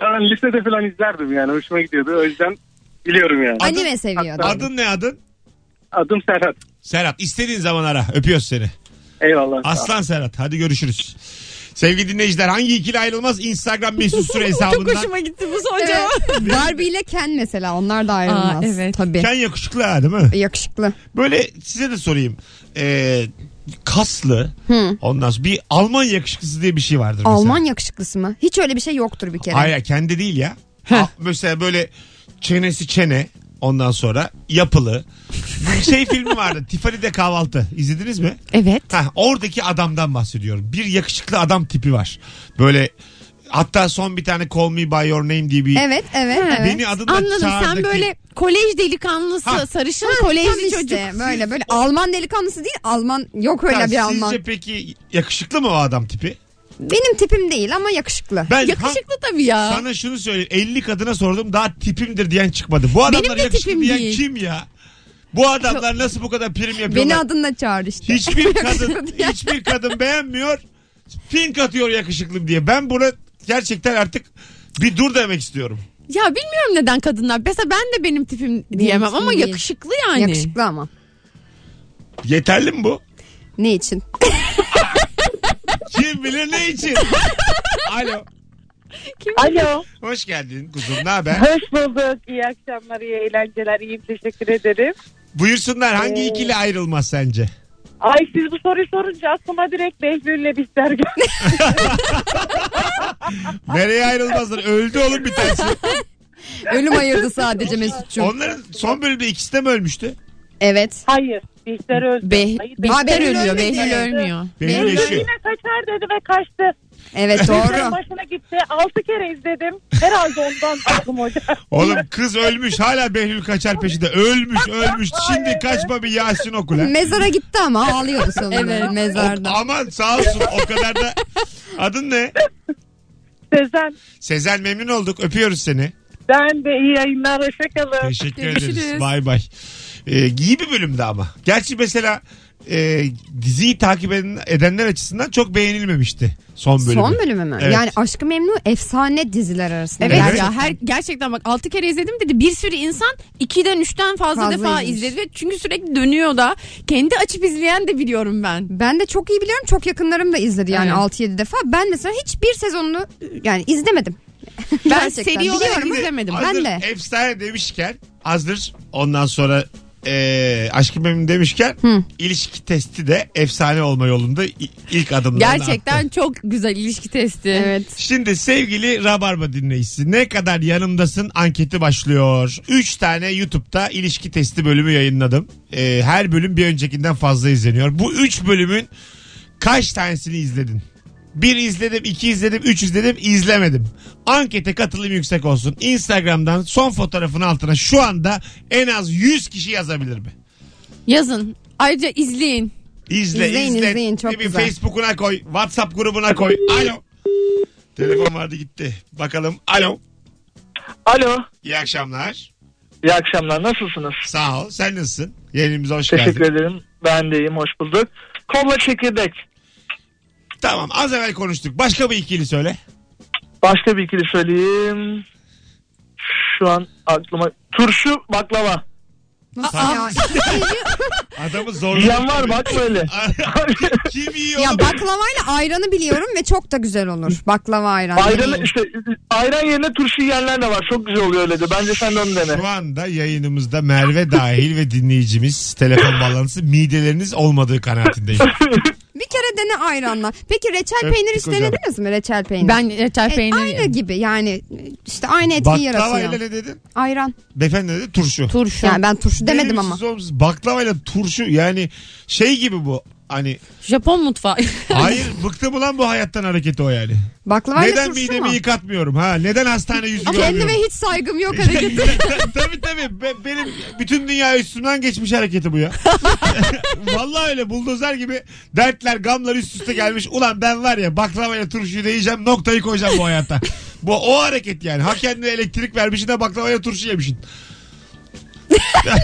E: ben lisede falan izlerdim yani. Hoşuma gidiyordu. O yüzden biliyorum yani.
B: Adın-
D: Anime seviyordu.
B: Adın ne adın?
E: Adım Serhat.
B: Serhat. İstediğin zaman ara. Öpüyoruz seni.
E: Eyvallah.
B: Aslan Serhat. Hadi görüşürüz. Sevgili dinleyiciler hangi ikili ayrılmaz? Instagram mesut süre hesabından.
C: gitti bu son
D: Evet. Barbie ile Ken mesela onlar da ayrılmaz.
C: Aa, evet.
D: Tabii.
B: Sen yakışıklı ha değil mi?
D: Yakışıklı.
B: Böyle size de sorayım. Ee, kaslı. Ondan sonra bir Alman yakışıklısı diye bir şey vardır mesela.
D: Alman yakışıklısı mı? Hiç öyle bir şey yoktur bir kere.
B: Hayır kendi değil ya. A- mesela böyle çenesi çene. Ondan sonra yapılı. Bir şey filmi vardı. Tiffany'de kahvaltı. İzlediniz mi?
C: Evet.
B: Heh, oradaki adamdan bahsediyorum. Bir yakışıklı adam tipi var. Böyle hatta son bir tane Call Me By Your Name diye bir
D: Evet evet evet.
B: beni adından
C: Anladım sen
B: çağırdaki-
C: böyle kolej delikanlısı
B: Ha.
C: sarışın
D: Tam
C: kolejli
D: işte
C: çocuk.
D: böyle böyle Alman delikanlısı değil Alman yok öyle
B: Ha,
D: bir Alman.
B: Sizce peki yakışıklı mı o adam tipi?
D: Benim tipim değil ama yakışıklı.
B: Ben
C: Yakışıklı tabii ya.
B: ha- sana şunu söyleyeyim. 50 kadına sordum daha tipimdir diyen çıkmadı. Bu adamlar
C: Benim de
B: yakışıklı
C: tipim
B: diyen
C: değil.
B: kim ya? Bu adamlar nasıl bu kadar prim
D: Beni
B: yapıyorlar?
D: adınla çağır işte.
B: hiçbir kadın
D: Yakışıklı diye.
B: hiçbir kadın beğenmiyor. Fink atıyor yakışıklım diye. Ben buna gerçekten artık bir dur demek istiyorum.
C: Ya bilmiyorum neden kadınlar. Mesela ben de benim tipim diyemem
D: tipim
C: ama
D: değil.
C: yakışıklı yani.
D: Yakışıklı ama.
B: Yeterli mi bu?
D: Ne için?
B: Kim bilir ne için? Alo.
I: Alo.
B: Hoş geldin kuzum. Ne haber?
I: Hoş bulduk. İyi akşamlar, iyi eğlenceler. İyiyim, teşekkür ederim.
B: Buyursunlar hangi ikili ayrılmaz sence?
I: Ay siz bu soruyu sorunca aklıma direkt Behlül'le Bihter geldi.
B: Nereye ayrılmazlar? Öldü oğlum bir tanesi.
D: Ölüm ayırdı sadece Mesut'cum.
B: Onların son bölümde ikisi de mi ölmüştü?
D: Evet.
I: Hayır, Bihter öldü.
C: Be
I: Hayır,
C: Bihter
D: Behlül
C: ölüyor,
D: ölmedi.
C: Behlül ölmüyor.
B: Benim
D: Benim
B: yaşıyor.
I: Yine kaçar dedi ve kaçtı.
D: Evet doğru.
I: Benim başına gitti. Altı kere izledim. Herhalde ondan aldım hocam.
B: Oğlum kız ölmüş hala Behlül kaçar peşinde. Ölmüş ölmüş. Şimdi kaçma bir Yasin oku lan.
D: Mezara gitti ama ağlıyordu sonunda.
C: Evet.
D: mezarda.
B: Aman sağ olsun o kadar da. Adın ne?
I: Sezen
B: Sezen memnun olduk. Öpüyoruz seni.
I: ben de iyi yayınlar. Hoşçakalın.
B: Teşekkür
C: Görüşürüz.
B: ederiz. Bay bay. Ee, iyi bir bölümdü ama. Gerçi mesela e, diziyi takip eden, edenler açısından çok beğenilmemişti son bölümü.
D: Son bölümü mü?
B: Evet.
D: Yani Aşkı Memnu efsane diziler arasında.
C: Evet,
D: Yani
C: ya her gerçekten bak 6 kere izledim dedi. Bir sürü insan 2'den 3'ten fazla,
D: Fazla
C: defa
D: izlemiş.
C: izledi. Çünkü sürekli dönüyor da. Kendi açıp izleyen de biliyorum ben.
D: Ben de çok iyi biliyorum. Çok yakınlarım da izledi yani
C: Evet.
D: 6-7 defa. Ben mesela hiçbir sezonunu yani izlemedim.
C: Ben
D: Gerçekten
C: seri olarak
D: biliyorum.
C: izlemedim.
D: Ay-
B: hazır
D: Ben de.
B: Efsane demişken hazır ondan sonra e, aşkım benim demişken ilişki testi de efsane olma yolunda i- ilk adımlarını attı.
C: Gerçekten çok güzel ilişki testi.
D: Evet.
B: Şimdi sevgili Rabarba dinleyicisi ne kadar yanımdasın anketi başlıyor. 3 tane YouTube'da ilişki testi bölümü yayınladım. Ee, her bölüm bir öncekinden fazla izleniyor. Bu 3 bölümün kaç tanesini izledin? Bir izledim, iki izledim, üç izledim, izlemedim. Ankete katılım yüksek olsun. Instagram'dan son fotoğrafın altına şu anda en az 100 kişi yazabilir mi?
C: Yazın. Ayrıca izleyin.
B: İzle,
D: İzleyin,
B: izle.
D: izleyin, çok
B: Ne bileyim,
D: güzel.
B: Facebook'una koy, WhatsApp grubuna koy. Alo. Telefon vardı gitti. Bakalım. Alo.
H: Alo.
B: İyi akşamlar.
H: İyi akşamlar. Nasılsınız?
B: Sağ ol. Sen nasılsın? Yayınımıza hoş geldin.
H: Teşekkür ederim. Ben de iyiyim. Hoş bulduk. Kolla çekirdek.
B: Tamam az evvel konuştuk. Başka bir ikili söyle.
H: Başka bir ikili söyleyeyim. Şu an aklıma... Turşu baklava.
D: Nasıl
B: Aa.
D: ya?
B: Adamı zorladı.
H: Yiyen var bak böyle.
B: Kim yiyor?
D: ya
B: oğlum?
D: baklavayla ayranı biliyorum ve çok da güzel olur. Baklava ayranı.
H: Ayran, işte, ayran yerine turşu yiyenler de var. Çok güzel oluyor öyle de. Bence sen de onu dene.
B: Şu anda yayınımızda Merve dahil ve dinleyicimiz telefon bağlantısı mideleriniz olmadığı kanaatindeyim.
D: Bir kere dene ayranla. Peki reçel
B: Öptük
D: peynir hiç
B: hocam.
D: denediniz mi? Reçel peynir.
C: Ben reçel
D: E,
C: peyniri.
D: aynı gibi yani işte aynı etkiyi
B: Baklava
D: yaratıyor.
B: ile ne dedin?
D: Ayran.
B: Beyefendi ne dedi? Turşu.
C: Turşu.
D: Yani ben turşu demedim ama.
B: Delirsiz olmuşsunuz. Baklava ile turşu yani şey gibi bu. Hani
C: Japon mutfağı.
B: hayır bıktım ulan bu hayattan hareketi o yani.
D: Baklava ile
B: Neden
D: turşu mu?
B: midemi yıkatmıyorum ha? Neden hastane yüzü
D: Ama
B: görmüyorum?
D: kendime hiç saygım yok hareketi.
B: tabii tabii. Be- benim bütün dünya üstümden geçmiş hareketi bu ya. Vallahi öyle buldozer gibi dertler, gamlar üst üste gelmiş. Ulan ben var ya baklavaya turşuyu da yiyeceğim noktayı koyacağım bu hayata. Bu o hareket yani. Ha kendine elektrik vermişsin de baklavaya turşu yemişsin.
D: ya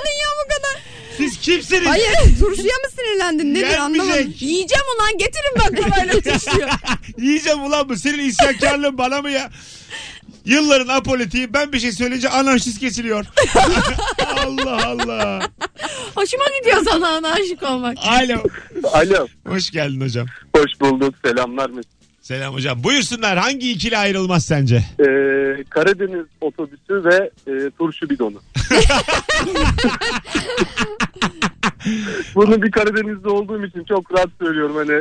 D: bu kadar.
B: Siz kimsiniz?
D: Hayır turşuya mı sinirlendin nedir
B: Yenmeyecek.
D: anlamadım.
C: Yiyeceğim ulan getirin baklavayla turşuyu.
B: Yiyeceğim ulan bu. Senin isyankarlığın bana mı ya? Yılların apolitiği ben bir şey söyleyince anarşist kesiliyor. Allah Allah.
C: Hoşuma gidiyor sana ana aşık olmak.
B: Alo.
H: Alo.
B: Hoş geldin hocam.
H: Hoş bulduk. Selamlar.
B: Selam hocam. Buyursunlar hangi ikili ayrılmaz sence?
H: Ee, Karadeniz otobüsü ve e, turşu bidonu. Bunu bir Karadeniz'de olduğum için çok rahat söylüyorum hani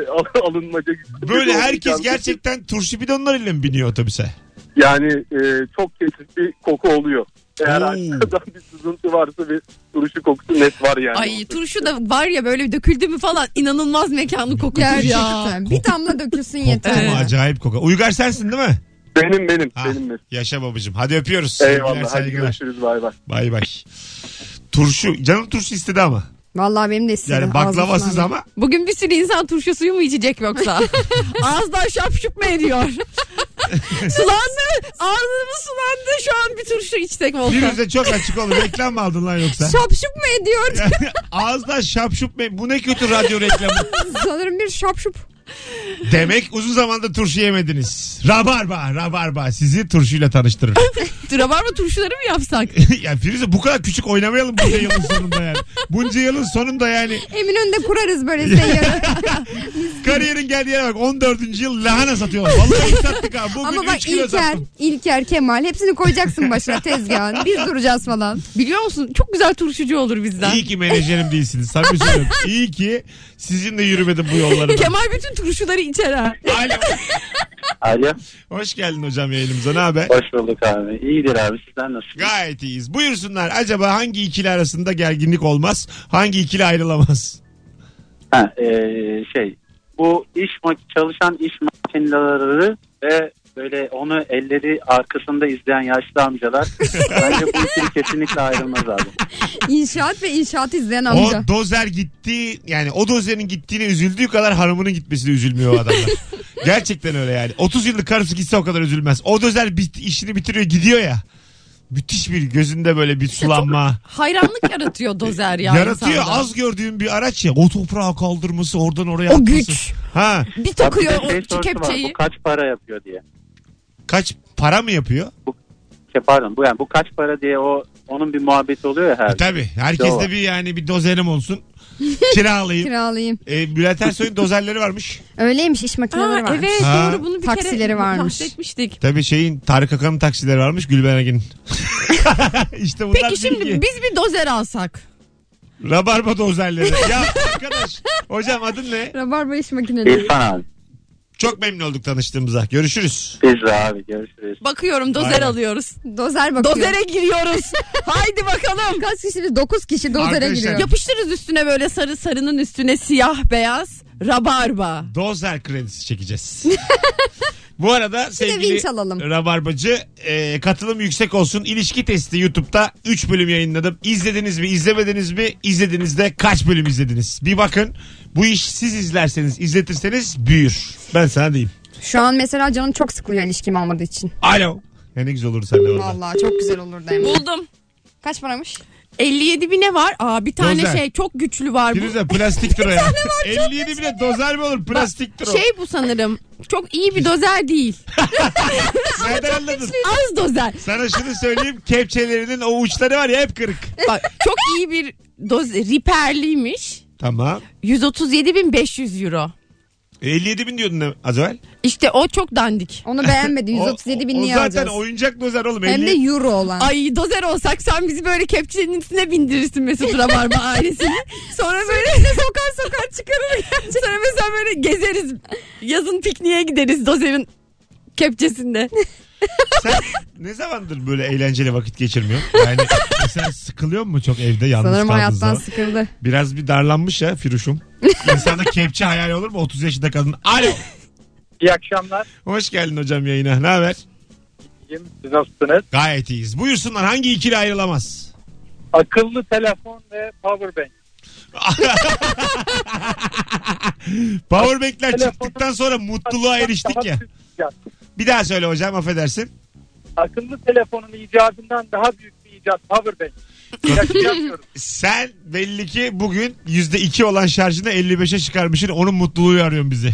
H: alınmaca.
B: Böyle herkes gerçekten turşu bidonlarıyla mı biniyor otobüse?
H: Yani e, çok kesif bir koku oluyor. Eğer
B: Oo.
H: arkadan bir sızıntı varsa bir turşu kokusu net var yani.
C: Ay turşu da var ya böyle döküldü mü falan inanılmaz mekanı kokuyor ya.
D: Gerçekten. Bir damla dökülsün yeter.
B: Koktu mu? acayip koka. Uygar sensin değil mi?
H: Benim benim
B: Ha,
H: benim. benim.
B: yaşa babacığım. Hadi öpüyoruz.
H: Eyvallah hadi
B: Ah, Sevgiler, saygılar.
H: görüşürüz bay bay.
B: Bay bay. Turşu. Canım turşu istedi ama.
D: Vallahi benim de istedi.
B: Yani baklavasız
D: Ağzım
B: ama.
C: Bugün bir sürü insan turşu suyu mu içecek yoksa? Ağızdan şapşup mu ediyor? sulandı. Ağzımız sulandı. Şu an bir turşu içsek olsa.
B: Firuze çok açık oldu. Reklam mı aldın lan yoksa?
D: Şapşup mu ediyor?
B: Ağızdan şapşup me- Bu ne kötü radyo reklamı.
D: Sanırım bir şapşup.
B: Demek uzun zamanda turşu yemediniz. Rabarba, rabarba sizi turşuyla tanıştırır.
C: Rabarba turşuları mı yapsak?
B: ya Firuze bu kadar küçük oynamayalım bunca yılın sonunda yani. Bunca yılın sonunda yani.
D: Eminönü'nde kurarız böyle şey. seyyarı.
B: Kariyerin geldiği yere bak 14. yıl lahana satıyorlar. Vallahi sattık ha. Bugün
D: Ama
B: 3
D: bak
B: kilo
D: İlker,
B: sattım.
D: İlker, Kemal hepsini koyacaksın başına tezgahın. Biz duracağız falan.
C: Biliyor musun? Çok güzel turşucu olur bizden.
B: İyi ki menajerim değilsiniz. Samimi söylüyorum. İyi ki sizinle yürümedim bu yolları.
C: Kemal bütün turşuları içer ha.
B: Alo.
H: Alo
B: Hoş geldin hocam yayınımıza. Ne haber?
H: hoş bulduk abi. İyidir abi sizden nasıl?
B: Gayet iyiyiz. Buyursunlar. Acaba hangi ikili arasında gerginlik olmaz? Hangi ikili ayrılamaz?
J: e,
H: Ha, şey bu iş çalışan iş
J: Çinlileri ve böyle onu elleri arkasında izleyen yaşlı amcalar. Bence bu ikili kesinlikle ayrılmaz abi.
D: İnşaat ve inşaat izleyen amca.
B: O dozer gitti yani o dozerin gittiğine üzüldüğü kadar hanımının gitmesine üzülmüyor o adamlar. Gerçekten öyle yani. 30 yıllık karısı gitse o kadar üzülmez. O dozer bit- işini bitiriyor gidiyor ya. Müthiş bir gözünde böyle bir sulanma.
C: Hayranlık yaratıyor dozer ya.
B: Yaratıyor
C: insanda.
B: az gördüğüm bir araç ya. O toprağı kaldırması oradan oraya
D: O
B: atması.
D: güç.
B: Ha
C: Bir
J: Abi bir de
C: takıyor o
J: şey sorusu var,
C: kepçeyi.
J: Bu kaç para yapıyor diye.
B: kaç para mı yapıyor? E,
J: Şey, pardon bu yani bu kaç para diye o onun bir muhabbeti oluyor ya her.
B: E, tabii. Herkes de
J: Doğru.
B: bir yani bir dozerim olsun. Kiralayayım.
D: Kiralayayım.
B: e, Bülent Ersoy'un dozerleri varmış.
D: Öyleymiş iş makineleri
C: Aa,
D: var.
C: evet
B: Ha.
C: doğru bunu bir
D: Taksileri
C: kere
D: varmış.
C: bahsetmiştik.
B: Tabii şeyin Tarık Akan'ın taksileri varmış Gülben Ergen'in. işte bunlar
C: Peki şimdi
B: bilgi.
C: biz bir dozer alsak.
B: Rabarba dozerleri. ya arkadaş. Hocam adın ne?
D: Rabarba iş makineleri.
J: İrfan abi.
B: Çok memnun olduk tanıştığımıza. Görüşürüz.
J: Biz de abi görüşürüz.
C: Bakıyorum dozer
B: Aynen.
C: alıyoruz.
D: Dozer bakıyor.
C: Dozere giriyoruz. Haydi bakalım.
D: Kaç kişi? 9 kişi dozere
B: Arkadaşlar-
D: giriyor.
C: Yapıştırırız üstüne böyle sarı sarının üstüne siyah beyaz rabarba.
B: Dozer kredisi çekeceğiz. Bu arada sevgili
D: vinç alalım.
B: Rabarbacı e, katılım yüksek olsun. İlişki testi YouTube'da 3 bölüm yayınladım. İzlediniz mi izlemediniz mi? İzlediğinizde kaç bölüm izlediniz? Bir bakın bu iş siz izlerseniz izletirseniz büyür. Ben sana diyeyim.
D: Şu an mesela canım çok sıkılıyor ilişkim olmadığı için.
B: Alo. Ya ne güzel olur sen de orada.
D: Vallahi çok güzel olurdu hem.
C: Buldum.
D: Kaç paramış?
C: 57 bine var. Aa bir tane
B: Dozer.
C: şey çok güçlü var bu.
B: Firuze plastiktir o ya. 57 bile dozer mi olur plastiktir o.
C: Şey bu sanırım. Çok iyi bir dozer değil.
B: Nereden anladın?
C: Az dozer.
B: Sana şunu söyleyeyim kepçelerinin o uçları var ya hep kırık.
C: Bak çok iyi bir dozer. Riperliymiş.
B: Tamam.
C: 137.500 euro.
B: 57 bin diyordun az evvel.
C: İşte o çok dandik.
D: Onu beğenmedi. 137 bin
B: o, o
D: niye
B: zaten
D: alacağız?
B: oyuncak dozer oğlum.
D: Hem
B: 50.
D: de euro olan.
C: Ay dozer olsak sen bizi böyle kepçenin üstüne bindirirsin Mesut Rabarba ailesini. Sonra böyle sokar sokar çıkarır. Sonra mesela böyle gezeriz. Yazın pikniğe gideriz dozerin kepçesinde.
B: Sen ne zamandır böyle eğlenceli vakit geçirmiyorsun? Yani e sen sıkılıyor mu çok evde yalnız
D: Sanırım
B: kaldığın
D: hayattan
B: zaman?
D: sıkıldı.
B: Biraz bir darlanmış ya Firuş'um. İnsanda kepçe hayali olur mu? 30 yaşında kadın. Alo.
E: İyi akşamlar.
B: Hoş geldin hocam yayına. Ne haber?
E: Siz nasılsınız?
B: Gayet iyiyiz. Buyursunlar hangi ikili ayrılamaz?
E: Akıllı telefon ve powerbank.
B: Powerbank'ler çıktıktan sonra mutluluğa eriştik ya. Bir daha söyle hocam affedersin.
E: Akıllı telefonun icadından daha büyük bir icat powerbank. Yaklaşıyorum.
B: Sen belli ki bugün %2 olan şarjını 55'e çıkarmışsın. Onun mutluluğu arıyorsun bizi.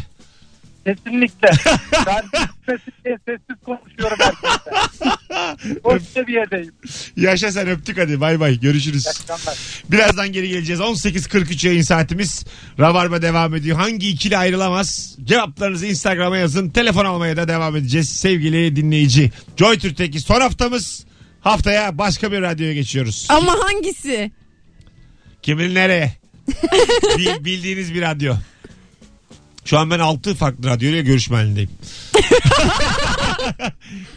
E: Kesinlikle. Ben sessiz, sessiz konuşuyorum herkese. O seviyedeyim.
B: Yaşa sen öptük hadi bay bay görüşürüz.
E: Akşamlar.
B: Birazdan geri geleceğiz. 18.43 yayın saatimiz. Rabarba devam ediyor. Hangi ikili ayrılamaz? Cevaplarınızı Instagram'a yazın. Telefon almaya da devam edeceğiz sevgili dinleyici. Joy Türk'teki son haftamız. Haftaya başka bir radyoya geçiyoruz.
C: Ama hangisi?
B: Kimin nereye? Bil- bildiğiniz bir radyo. Şu an ben 6 farklı radyoyla görüşme halindeyim.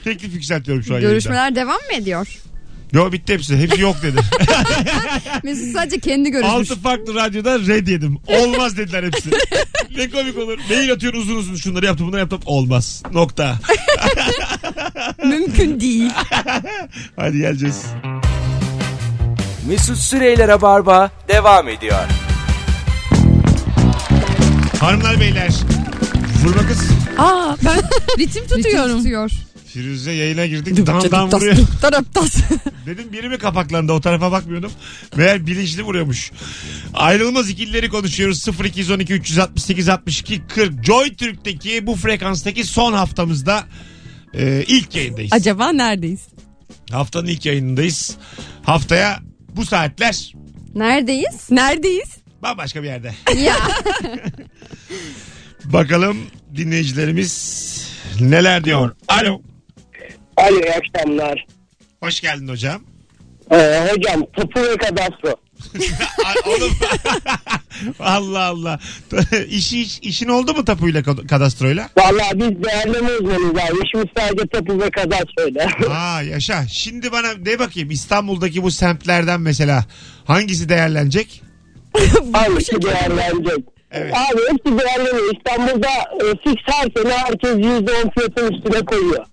B: Teklif yükseltiyorum şu an. yayında.
D: Görüşmeler devam mı ediyor?
B: Yo bitti hepsi. Hepsi yok dedi.
D: Mesut sadece kendi görüşmüş.
B: Altı farklı radyoda red yedim. Olmaz dediler hepsi. ne komik olur. Mail atıyorsun uzun uzun şunları yaptım bunları yaptım. Olmaz. Nokta.
C: Mümkün değil.
B: Hadi geleceğiz.
A: Mesut Süreyler'e barba devam ediyor.
B: Hanımlar beyler. Vurma kız.
C: Aa ben ritim
D: Ritim
C: tutuyorum.
D: tutuyor.
B: Firuze yayına girdik. Dam dam vuruyor.
C: Taraptas.
B: Dedim biri mi kapaklandı o tarafa bakmıyordum. Meğer bilinçli vuruyormuş. Ayrılmaz ikilileri konuşuyoruz. 0212 368 62 40. Joy Türk'teki bu frekanstaki son haftamızda e, ilk yayındayız.
C: Acaba neredeyiz?
B: Haftanın ilk yayınındayız. Haftaya bu saatler
D: Neredeyiz?
C: Neredeyiz?
B: bambaşka bir yerde.
D: Ya.
B: Bakalım dinleyicilerimiz neler diyor. Alo.
F: Alo iyi akşamlar.
B: Hoş geldin hocam.
F: Ee, hocam tıpı ve kadastro.
B: A- Oğlum. Allah Allah. İşi, iş- işin oldu mu tapuyla kad- kadastroyla?
F: Valla biz değerleme uzmanıyız abi. İşimiz sadece tıpı ve kadastroyla.
B: Aa yaşa. Şimdi bana de bakayım İstanbul'daki bu semtlerden mesela hangisi değerlenecek?
F: Hangisi değerlenecek?
B: Evet.
K: şey Abi hepsi değerleniyor. İstanbul'da e, fix her sene herkes %10 fiyatın üstüne koyuyor.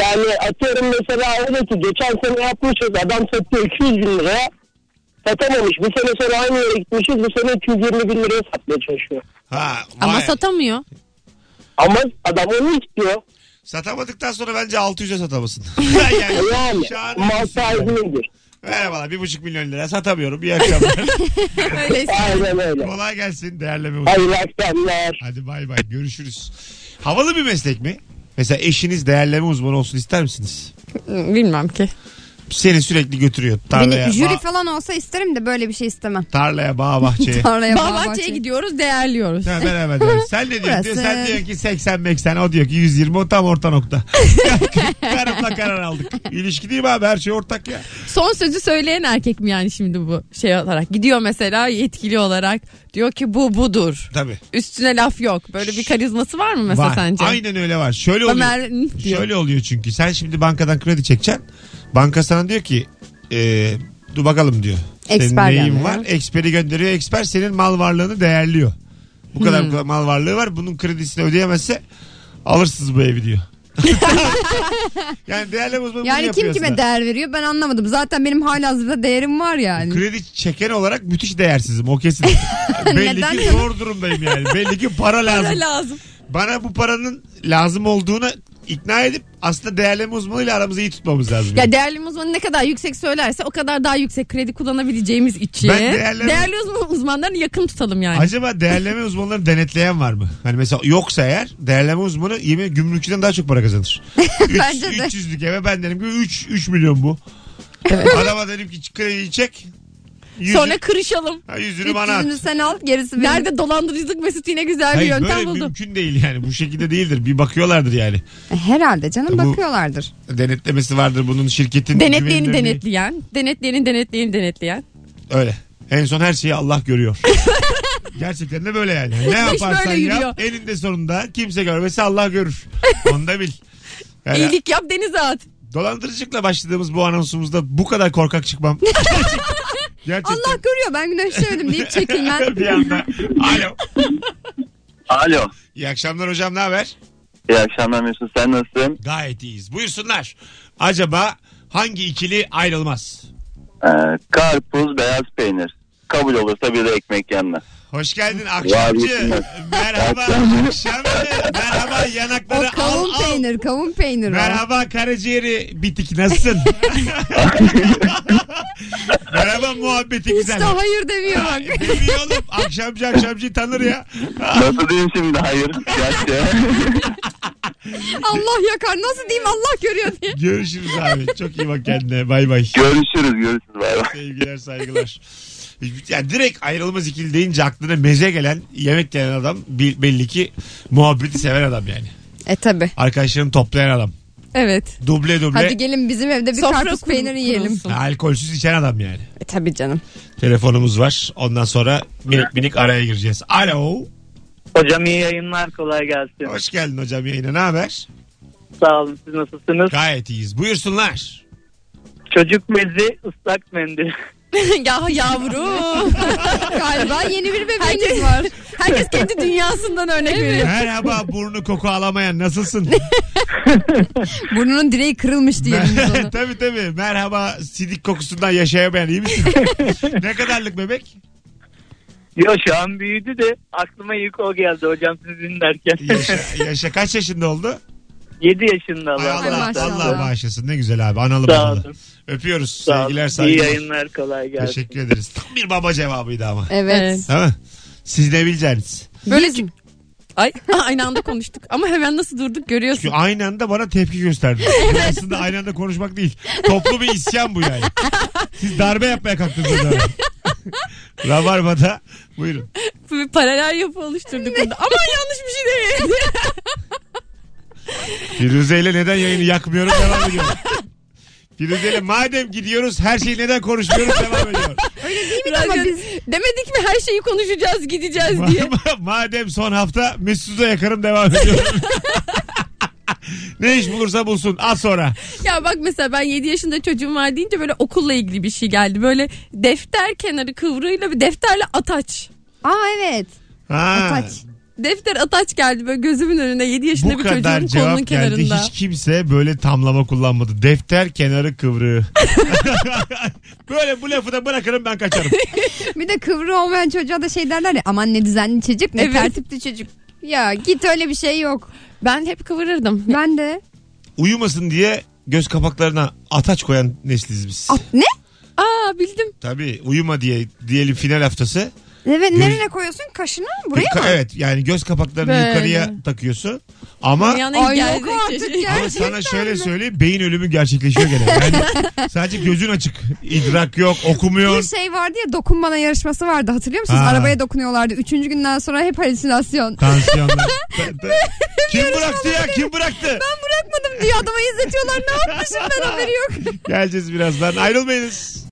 K: Yani atıyorum mesela öyle ki geçen sene yapmışız adam satıyor 200 bin liraya satamamış. Bir sene sonra aynı yere gitmişiz bu sene 220 bin liraya satmaya çalışıyor.
B: Ha,
C: Ama
B: vay.
C: satamıyor.
K: Ama adam onu istiyor.
B: Satamadıktan sonra bence 600'e satamasın.
K: Yani
B: şahane
K: mal
B: diyorsun
K: sahibi
B: yani.
K: nedir?
B: Merhabalar bir buçuk milyon lira satamıyorum. İyi akşamlar.
C: Öyleyse.
K: Aynen öyle.
B: Kolay gelsin değerleme uzmanı.
K: Hayırlı akşamlar.
B: Hadi bay bay görüşürüz. Havalı bir meslek mi? Mesela eşiniz değerleme uzmanı olsun ister misiniz?
C: Bilmem ki.
B: Seni sürekli götürüyor tarlaya,
D: Beni jüri
B: ba-
D: falan olsa isterim de böyle bir şey istemem.
B: tarlaya bağ bahçeye.
C: E,
D: Tarlaya bağ
C: Bağbahçe'ye
D: bahçeye
C: gidiyoruz değerliyoruz.
B: Ha, beraber diyoruz. Sen ne diyorsun?
D: Burası.
B: Diyor, sen diyor ki 80 80 o diyor ki 120 o tam orta nokta. Karımla karar aldık. İlişki değil mi abi her şey ortak ya.
C: Son sözü söyleyen erkek mi yani şimdi bu şey olarak? Gidiyor mesela yetkili olarak diyor ki bu budur.
B: Tabii.
C: Üstüne laf yok. Böyle bir karizması var mı mesela
B: var.
C: sence?
B: Aynen öyle var. Şöyle oluyor.
C: Ömer diyor.
B: Şöyle oluyor çünkü sen şimdi bankadan kredi çekeceksin. Banka sana diyor ki e, dur bakalım diyor. Senin
D: Eksper
B: neyin
D: gönderiyor.
B: var? Eksper'i gönderiyor. Eksper senin mal varlığını değerliyor.
D: Hmm.
B: Bu kadar bu kadar mal varlığı var. Bunun kredisini ödeyemezse alırsınız bu evi diyor. yani değerleme uzmanı bunu
D: Yani
B: yapıyor
D: kim kime
B: aslında.
D: değer veriyor ben anlamadım. Zaten benim halihazırda değerim var yani.
B: Kredi çeken olarak müthiş değersizim o kesin. Belli
D: Neden?
B: ki zor durumdayım yani. Belli ki para lazım.
C: Bana lazım.
B: Bana bu paranın lazım olduğunu ikna edip aslında değerleme uzmanıyla aramızı iyi tutmamız lazım. yani.
C: Ya değerli uzmanı ne kadar yüksek söylerse o kadar daha yüksek kredi kullanabileceğimiz için.
B: Ben değerli-
C: Değerli uzman, uzmanlarını yakın tutalım yani.
B: Acaba değerleme uzmanları denetleyen var mı? Hani mesela yoksa eğer değerleme uzmanı yemin ediyorum gümrükçüden daha çok para kazanır. Üç-
D: Bence de.
B: 300'lük eve ben dedim ki 3, 3 milyon bu. Adama dedim ki krediyi çek. Yüzü,
C: Sonra kırışalım.
B: Ha, yüzünü bana at.
D: 300'ünü sen al gerisi benim.
C: Nerede dolandırıcılık Mesut yine güzel bir
B: Hayır, böyle
C: yöntem buldu.
B: mümkün değil yani. Bu şekilde değildir. Bir bakıyorlardır yani.
D: E, Herhalde canım
B: E, Bu-
D: bakıyorlardır.
B: Denetlemesi vardır bunun şirketin.
C: Denetleyeni
B: güvenilirliği.
C: denetleyen. Denetleyeni denetleyeni denetleyen.
B: Öyle. En son her şeyi Allah görüyor. Gerçekten de böyle yani. Ne
C: İş
B: yaparsan
C: böyle yürüyor.
B: yap eninde sonunda kimse görmese Allah görür. Onu da bil. Yani
C: İyilik yap denize at.
B: Dolandırıcılıkla başladığımız bu anonsumuzda bu kadar korkak çıkmam. Gerçek- Gerçekten.
D: Allah görüyor ben güneşliyorum deyip çekilmen.
B: bir anda. Alo.
J: Alo.
B: İyi akşamlar hocam ne haber?
J: İyi akşamlar Mesut sen nasılsın?
B: Gayet iyiyiz. Buyursunlar. Acaba hangi ikili ayrılmaz?
J: Ee, karpuz beyaz peynir. Kabul olursa bir de ekmek yanına.
B: Hoş geldin akşamcı.
J: yesinler.
B: Merhaba akşamcı. Merhaba
D: O
B: yanakları
D: kavun
B: al al.
D: peynir kavun peynir o.
B: Merhaba karaciğeri bitik nasılsın? Merhaba muhabbeti
D: Hiç
B: güzel.
D: de hayır demiyor bak.
B: Deli oğlum akşamcı akşamcı tanır ya.
J: Nasıl diyeyim şimdi hayır? Gerçekten.
D: Allah yakar nasıl diyeyim Allah görüyor diye.
B: Görüşürüz abi. Çok iyi bak kendine. Bay bay.
J: görüşürüz görüşürüz bay bay.
B: Sevgiler saygılar. Yani direkt ayrılmaz ikili deyince aklına meze gelen yemek gelen adam bil- belli ki muhabbeti seven adam yani.
D: E tabi.
B: Arkadaşlarını toplayan adam.
C: Evet.
B: Duble duble.
D: Hadi gelin bizim evde bir
C: Sofra
D: karpuz
C: kurun-
D: peyniri yiyelim.
C: kurulsun.
B: Alkolsüz içen adam yani.
D: E tabi canım.
B: Telefonumuz var. Ondan sonra minik minik araya gireceğiz. Alo.
K: Hocam iyi yayınlar kolay gelsin.
B: Hoş geldin hocam yayına. Ne haber?
K: Sağ olun siz nasılsınız?
B: Gayet iyiyiz. Buyursunlar.
K: Çocuk mezi ıslak mendil.
C: ya yavrum.
D: Galiba yeni bir bebeğimiz
C: Herkes
D: var.
C: var. Herkes kendi dünyasından örnek veriyor.
B: Merhaba burnu koku alamayan nasılsın?
D: Burnunun direği kırılmış diyelim biz ona.
B: tabii tabii. Merhaba sidik kokusundan yaşayamayan iyi misin? ne kadarlık bebek?
K: Yo şu an büyüdü de aklıma ilk o geldi hocam sizin derken.
B: Yaşa, yaşa kaç yaşında oldu?
K: 7 yaşında
B: Ay
K: Allah.
B: Allah,
D: maşallah.
B: Allah bağışlasın. Ne güzel abi. Analı
K: Sağ
B: babalı.
K: olun.
B: Öpüyoruz.
K: Sağ olun.
B: Sevgiler
K: İyi
B: saygılar.
K: yayınlar kolay gelsin.
B: Teşekkür ederiz. Tam bir baba cevabıydı ama.
D: Evet.
C: Evet.
B: Değil mi? Siz ne bileceksiniz?
C: Böyle Ay aynı anda konuştuk ama hemen nasıl durduk görüyorsun.
B: Çünkü aynı anda bana tepki gösterdi. Aslında aynı anda konuşmak değil. Toplu bir isyan bu yani. Siz darbe yapmaya kalktınız burada. Rabarba'da buyurun.
C: Bir paralel yapı oluşturduk orada. Ama yanlış bir şey değil.
B: Firuze ile neden yayını yakmıyorum devam ediyor. Firuze ile madem gidiyoruz her şeyi neden konuşmuyoruz devam ediyor.
D: ama
C: Radyo-
D: biz-
C: Demedik mi her şeyi konuşacağız gideceğiz diye.
B: Ma- madem son hafta Mesut'a yakarım devam ediyor. ne iş bulursa bulsun az sonra.
C: Ya bak mesela ben 7 yaşında çocuğum var deyince böyle okulla ilgili bir şey geldi. Böyle defter kenarı kıvrığıyla bir defterle ataç.
D: Aa evet.
B: Ha.
C: Defter Ataç geldi böyle gözümün önüne 7 yaşında
B: Bu
C: bir
B: kadar
C: çocuğun kolunun
B: cevap geldi.
C: kenarında.
B: Hiç kimse böyle tamlama kullanmadı. Defter kenarı kıvrığı. böyle bu lafı da bırakırım ben kaçarım.
D: Bir de kıvrı olmayan çocuğa da şey derler ya aman ne düzenli çocuk ne
C: Evet.
D: tertipli çocuk. Ya git öyle bir şey yok.
C: Ben hep kıvırırdım.
D: Ben de.
B: Uyumasın diye göz kapaklarına ataç koyan nesliz biz.
D: Ne?
C: Aa bildim.
B: Tabii uyuma diye diyelim final haftası.
D: Evet
B: Göz-
D: nereye koyuyorsun? Kaşına mı? Buraya
B: Yuka-
D: mı?
B: Evet yani göz kapaklarını
D: Böyle.
B: yukarıya takıyorsun. Ama
C: Dünyanın
D: Ay
C: geldiği
D: yok artık
C: çeşit.
D: ya.
B: ama sana şöyle söyleyeyim beyin ölümü gerçekleşiyor gene. Yani sadece gözün açık. idrak yok,
D: Bir
B: okumuyor.
D: şey vardı ya dokun bana yarışması vardı hatırlıyor musunuz?
B: Ha.
D: Arabaya dokunuyorlardı. Üçüncü günden sonra hep halüsinasyon.
B: Tansiyonlar. Ta- ta- Kim bıraktı ya? Kim bıraktı?
D: Ben bırakmadım diye adama izletiyorlar. Ne yapmışım ben haberi yok.
B: Geleceğiz birazdan. Ayrılmayınız.